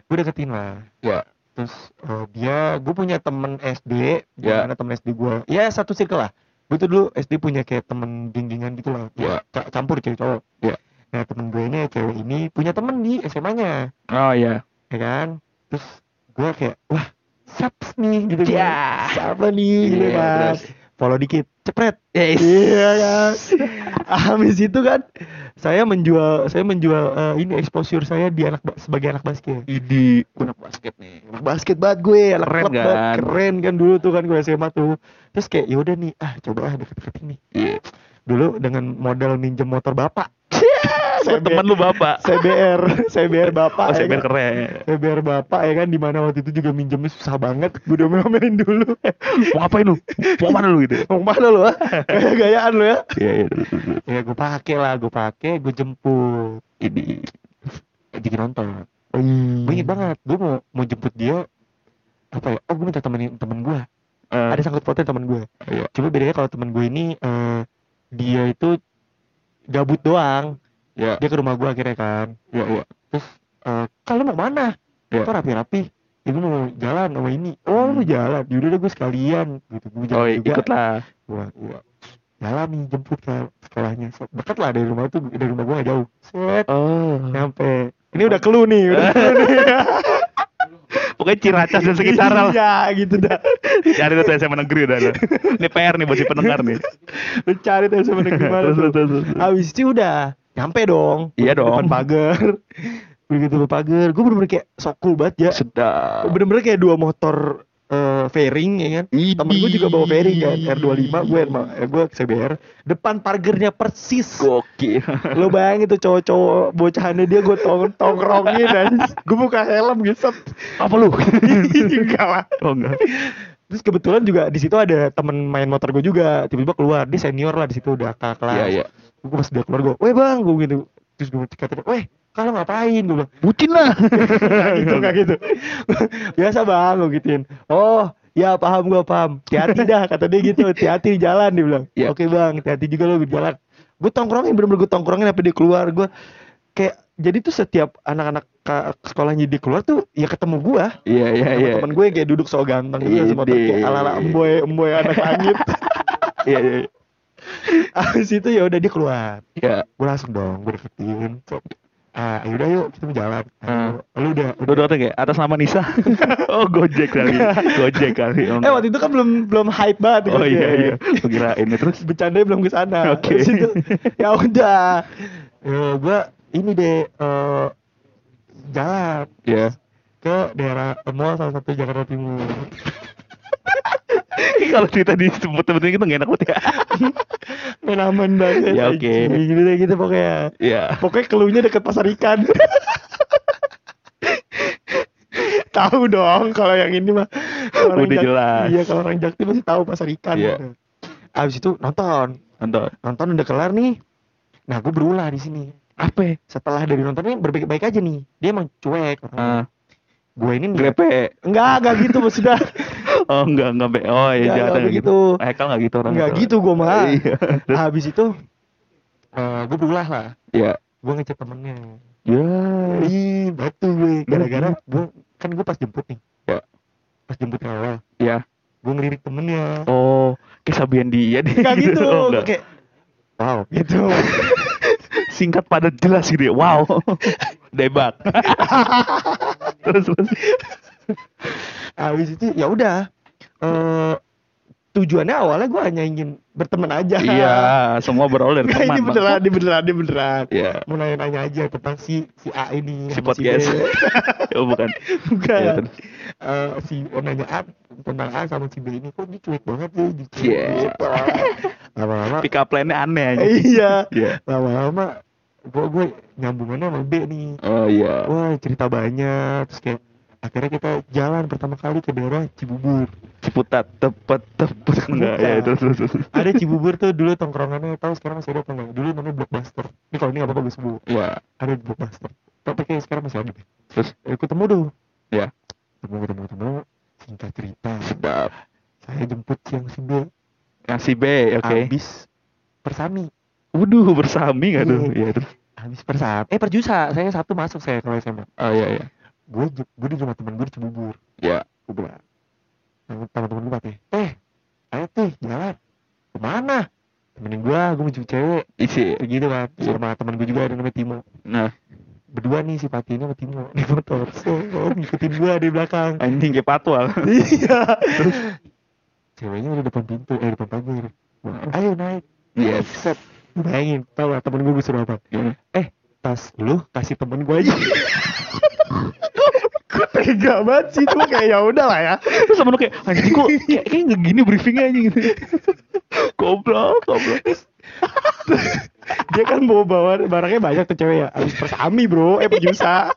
gue deketin lah ya terus eh, dia gue punya temen SD Ya. karena temen SD gue ya satu circle lah gue tuh dulu SD punya kayak temen geng-gengan gitu lah Ya. Ca- campur cewek cowok Ya. nah temen gue ini cewek ini punya temen di SMA nya oh iya ya kan terus gue kayak wah saps nih gitu kan Ya. siapa nih gitu Iya, kan terus. follow dikit cepret Yes. iya kan habis itu kan saya menjual saya menjual eh, ini exposure saya di anak ba- sebagai anak basket Idi kunak basket nih anak basket banget gue anak Keren klub banget. kan? keren kan dulu tuh kan gue SMA tuh terus kayak yaudah nih ah coba ah deket-deketin nih dulu dengan modal minjem motor bapak Buat temen lu bapak CBR CBR bapak oh ya CBR kan? keren CBR bapak ya kan dimana waktu itu juga minjemnya susah banget gue udah ngomelin dulu mau ngapain lu mau mana lu gitu mau mana lu ah? gaya-gayaan lu ya iya iya ya gue pakai lah gue pakai gue jemput ini jadi nonton gue inget banget gue mau mau jemput dia apa ya oh gue minta temenin temen gue ada Eh. sangkut pautnya temen gue Iya. cuma bedanya kalau temen gue ini eh, dia itu gabut doang ya dia ke rumah gue akhirnya kan ya ya Eh, kalau mau mana Iya. kok rapi-rapi ya gue mau jalan sama ini oh mau jalan yaudah deh gue sekalian gitu gue jalan oh juga ikutlah gua, gua jalan nih jemput ke sekolahnya So, deket lah dari rumah tuh dari rumah gue gak jauh set oh nyampe ini udah kelu nih udah clue nih pokoknya ciracas dan sekitaran lah Iya, gitu dah cari Ya, tuh SMA negeri udah lah ini PR nih buat si pendengar nih lu cari tuh sama negeri mana terus tuh. terus terus terus. Abis itu udah nyampe dong. Iya Depan dong. pagar. Begitu ke pagar, gue bener-bener kayak sok cool banget ya. sedap Bener-bener kayak dua motor eh, fairing ya kan. Temen gue juga bawa fairing kan, R25, gue R- eh, gue CBR. Depan pagernya persis. gokil Lo bayangin tuh cowok-cowok bocahannya dia gue tong tongkrongin dan gue buka helm gitu. set. apa lu Enggak lah. oh enggak Terus kebetulan juga di situ ada temen main motor gue juga, tiba-tiba keluar. Dia senior lah di situ udah kakak kelas. iya iya gue pas dia keluar gue, weh bang, gue gitu terus gue kata, weh kalau ngapain gue bilang bucin lah "Nggak gitu nggak gitu biasa bang gue gituin oh ya paham gue paham hati-hati dah kata dia gitu hati-hati di jalan dia bilang Iya. oke bang hati-hati juga lo di jalan gue tongkrongin bener-bener gue tongkrongin sampai dia keluar gue kayak jadi tuh setiap anak-anak ka- sekolahnya dia keluar tuh ya ketemu gue iya iya sama iya temen gue yang kayak duduk so ganteng Iya, gitu sama motor deh. kayak ala-ala emboy emboy anak langit iya iya abis itu ya udah dia keluar iya gue langsung dong gue deketin Cok. ah yaudah yuk kita mau jalan Hmm. Ah, lu udah Udah udah kayak atas nama Nisa. oh, Gojek kali. Gojek kali. Oh, eh waktu itu kan belum belum hype banget oh kan, iya ya. iya. Gua Kirain ya, terus. bercandanya belum ke sana Oke. Terus itu, ya udah ya, gue ini deh eh, jalan Iya. ke daerah eh, mall salah satu Jakarta Timur Kalau cerita di sebut sebetulnya kita nggak enak banget ya. menaman banget Ya, oke. anjing. gitu deh gitu pokoknya Iya. pokoknya keluhnya deket pasar ikan tahu dong kalau yang ini mah kalau orang Udah Jak- jelas. iya kalau orang Jakti pasti tahu pasar ikan Iya. abis itu nonton Nonton. nonton udah kelar nih nah gue berulah di sini Apa? setelah dari nontonnya berbaik baik aja nih dia emang cuek Ah, gue ini nih- grepe. enggak enggak gitu maksudnya Oh, enggak enggak be. Nggak, Oh, iya jangan nggak nggak gitu. begitu. Hekal enggak gitu orang. enggak Kalau- gitu Ah. gue mah Iya. Terus, Gitu habis itu eh gue berulah lah Iya. gue ngecek temennya Ya. Ih, batu gue gara-gara Gara-gara gue kan gue pas jemput nih. Ya. Pas jemput yang awal, Iya. gue ngelirik temennya. Oh, kayak Sabian dia deh. Kayak gitu, gue Oh, nggak. kayak wow gitu. Singkat padat jelas gitu ya. Wow. Debak. terus terus. Habis itu ya udah. Eh tujuannya awalnya gue hanya ingin berteman aja. Iya, semua berolah dari Nggak, teman. ini Bang. beneran, ini beneran, ini beneran. Iya. Mau nanya-nanya aja tentang si si A ini. si sama B. podcast oh bukan Bukan. Iya, terus. Eh, si oh, nanya A tentang A sama si B ini kok dia cuek banget ya gitu. Iya. Gitu. Lama-lama pick up line-nya aneh aja iya Iya. lama-lama gue gue nyambungannya sama B nih oh iya wah cerita banyak terus kayak akhirnya kita jalan pertama kali ke daerah Cibubur Ciputat tepet tepet enggak ya itu terus terus. ada Cibubur tuh dulu tongkrongannya tahu sekarang masih ada apa enggak dulu namanya Blockbuster ini kalau ini nggak apa-apa gue sebut ya ada di Blockbuster tapi kayak sekarang masih ada deh terus Eh, ketemu dong ya ketemu ketemu ketemu singkat cerita sedap saya jemput siang single yang si B oke habis persami Ah, waduh bersami nggak tuh iya, ya terus habis persami eh perjusa saya sabtu masuk saya kalau SMA oh ya ya gue je- gue di rumah temen gue di Cibubur ya gue bilang sama temen gue teh eh ayo teh jalan kemana temenin gue gue mau jemput cewek isi kayak gitu kan Terus sama temen gue juga ada namanya Timo nah berdua nih si Patino sama Timo di motor so Oh, ngikutin gue di belakang anjing kayak patwal iya terus ceweknya udah depan pintu eh depan pagar Gua, ayo naik yes set Lu bayangin tau gak temen gue gue suruh apa Gimana? eh tas lu kasih temen gue aja Gue tega banget sih Cuma kayak ya udah lah ya Eh, terus sama lu kayak anjing kok kayak kayak nggak gini briefingnya anjing gitu goblok goblok Dia kan bawa bawa barangnya banyak tuh cewek ya Abis persami bro Eh pejusa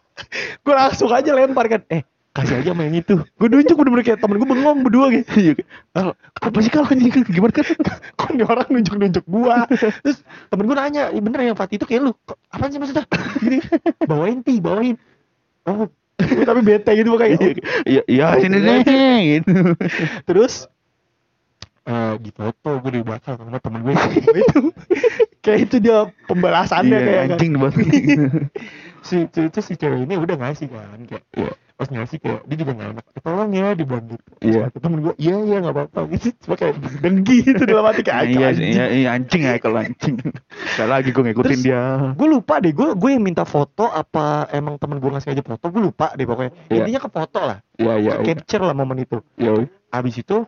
Gue langsung aja lempar kan Eh kasih aja main itu gue nunjuk bener-bener kayak temen gue bengong berdua gitu Iya, kayak, "Al, apa sih kalau anjing gimana kan Kok ini orang nunjuk-nunjuk gua terus temen gue nanya "Ih, bener yang Fatih itu kayak lu Kok- apaan sih maksudnya gini bawain ti bawain oh Gua Tapi bete gitu kayak Iya, iya iya sini deh gitu Terus eh di foto gue di belakang sama temen gue itu Kayak itu dia pembalasannya Iya, kayak kan. anjing banget si itu si cewek ini udah ngasih kan kayak Iya. pas ngasih kayak dia juga nggak enak tolong ya dibilang gitu Iya. Terus temen gue iya iya nggak apa-apa gitu cuma kayak Dengki itu dalam hati kayak iya, anjing. iya, iya, anjing ya kalau anjing. Gak lagi gue ngikutin Terus- dia. gue lupa deh gue gue yang minta foto apa emang temen gue ngasih aja foto gue lupa deh pokoknya Iya. intinya ke foto lah Iya, iya, ke capture lah momen itu iya. abis itu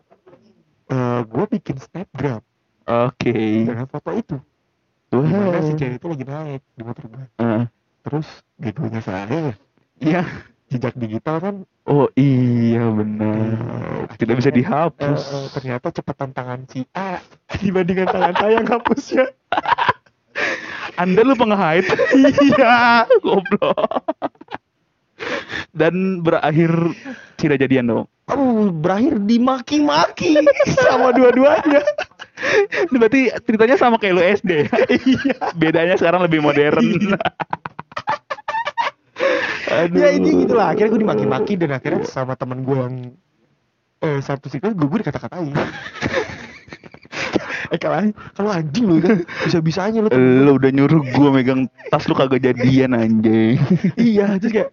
eh gue bikin snapgram Oke. dengan foto itu karena si cewek itu lagi naik di motor gue Eh, terus begonya saya Iya. jejak digital kan Oh iya benar. Tidak bisa eh, dihapus. eh, ternyata cepetan tangan si A Dibandingkan tangan saya ya. ngapusnya. Anda lu penghait. iya, goblok. Dan berakhir tidak jadian dong. oh, berakhir dimaki-maki Sama dua-duanya. Ini Berarti ceritanya sama kayak lu SD. Iya. Bedanya sekarang lebih modern. Iya. Aduh. ya ini gitu lah akhirnya gue dimaki-maki dan akhirnya Iya. sama temen gue yang eh satu siklus gue gue dikata-katain eh kalau kalau anjing lu kan bisa bisanya lu Lu udah nyuruh gua megang tas lu kagak jadian anjing. iya terus kayak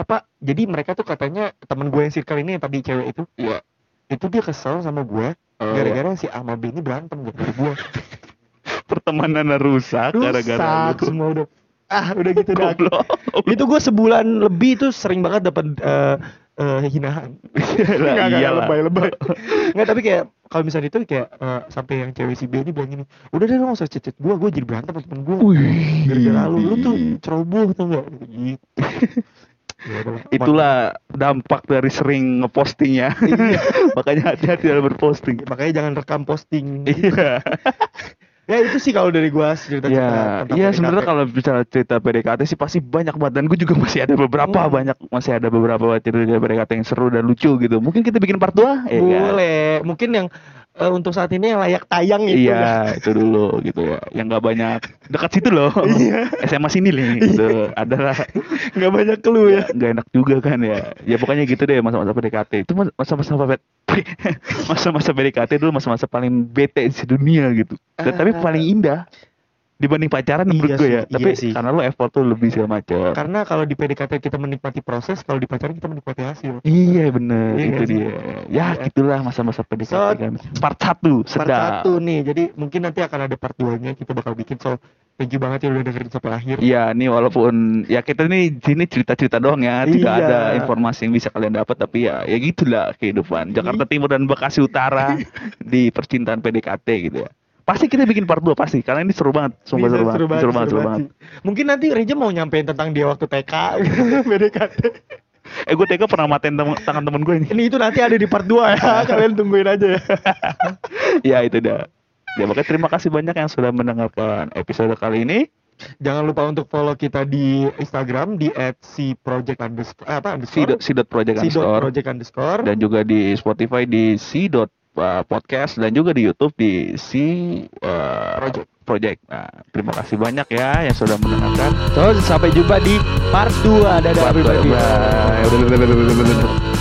apa jadi mereka tuh katanya temen gue yang circle ini yang tadi cewek itu Iya. itu dia kesel sama gue Oh. gara-gara si A sama B ini berantem gara-gara gue Pertemanan rusak, gara-gara Rusak lu. semua udah. Ah udah gitu dah. Goblok. itu gue sebulan lebih tuh sering banget dapat eh, eh, hinaan Iyalah, Nggak, ya. nggak, iyalah. Lebay-lebay. Enggak tapi kayak kalau misalnya itu kayak eh, sampai yang cewek si B ini bilang gini, udah deh lu gak usah cecet gue, gue jadi berantem sama temen gue. Wih. Gara-gara lu, lu tuh ceroboh tuh enggak gitu. Ya udah lah. Itulah dampak dari sering ngeposting ya. Makanya hati-hati dalam berposting. Mak- Makanya jangan rekam posting. Iya. ya itu sih kalau dari gue cerita cerita. Ya, iya sebenarnya kalau bicara cerita PDKT sih pasti banyak banget dan gue juga masih ada beberapa Hmm. banyak masih ada beberapa cerita PDKT yang seru dan lucu gitu. Mungkin kita bikin part 2 ya kan? boleh, mungkin yang eh, untuk saat ini yang layak tayang itu. ya. Iya, itu dulu gitu ya. Yang nggak banyak dekat situ loh. Iya. SMA sini nih gitu. Adalah Nggak banyak clue ya. nggak enak juga kan ya. Ya pokoknya gitu deh masa-masa PDKT. Itu mas- masa-masa pe- masa-masa PDKT dulu masa-masa paling bete di dunia gitu. Dan- tapi paling indah dibanding pacaran Ah. Iya menurut gue sih, ya. Tapi iya sih. karena lo effort tuh lebih segala macam. Karena kalau di PDKT kita menikmati proses, kalau di pacaran kita menikmati hasil. Iya bener Iya itu nggak sih? dia. Ya gitulah masa-masa PDKT So, kan. Part 1 sedap. part satu nih jadi mungkin nanti akan ada part 2 nya kita bakal bikin so thank you banget ya udah dengerin sampai akhir Iya nih walaupun ya kita nih di sini cerita-cerita doang ya, tidak Iya. ada informasi yang bisa kalian dapat tapi ya ya gitulah kehidupan Jakarta Timur dan Bekasi Utara di percintaan PDKT gitu ya. Pasti kita bikin part 2 pasti karena ini seru banget, sumpah Bisa, seru, banget, seru banget, seru banget. sih. mungkin nanti Reja mau nyampein tentang dia waktu TK PDKT Eh gue tega pernah matiin tem- tangan temen gue ini. Ini itu nanti ada di part 2 ya. Kalian tungguin aja ya. ya itu dah. Ya makanya terima kasih banyak yang sudah mendengarkan episode kali ini. Jangan lupa untuk follow kita di Instagram di @si_project underscore eh, apa si underscore si dot project Si dot Store. project underscore dan juga di Spotify di si dot uh, podcast dan juga di YouTube di si uh, Project. project. Nah, terima kasih banyak ya yang sudah mendengarkan. So, sampai jumpa di part 2. Dadah, Bye everybody. bye.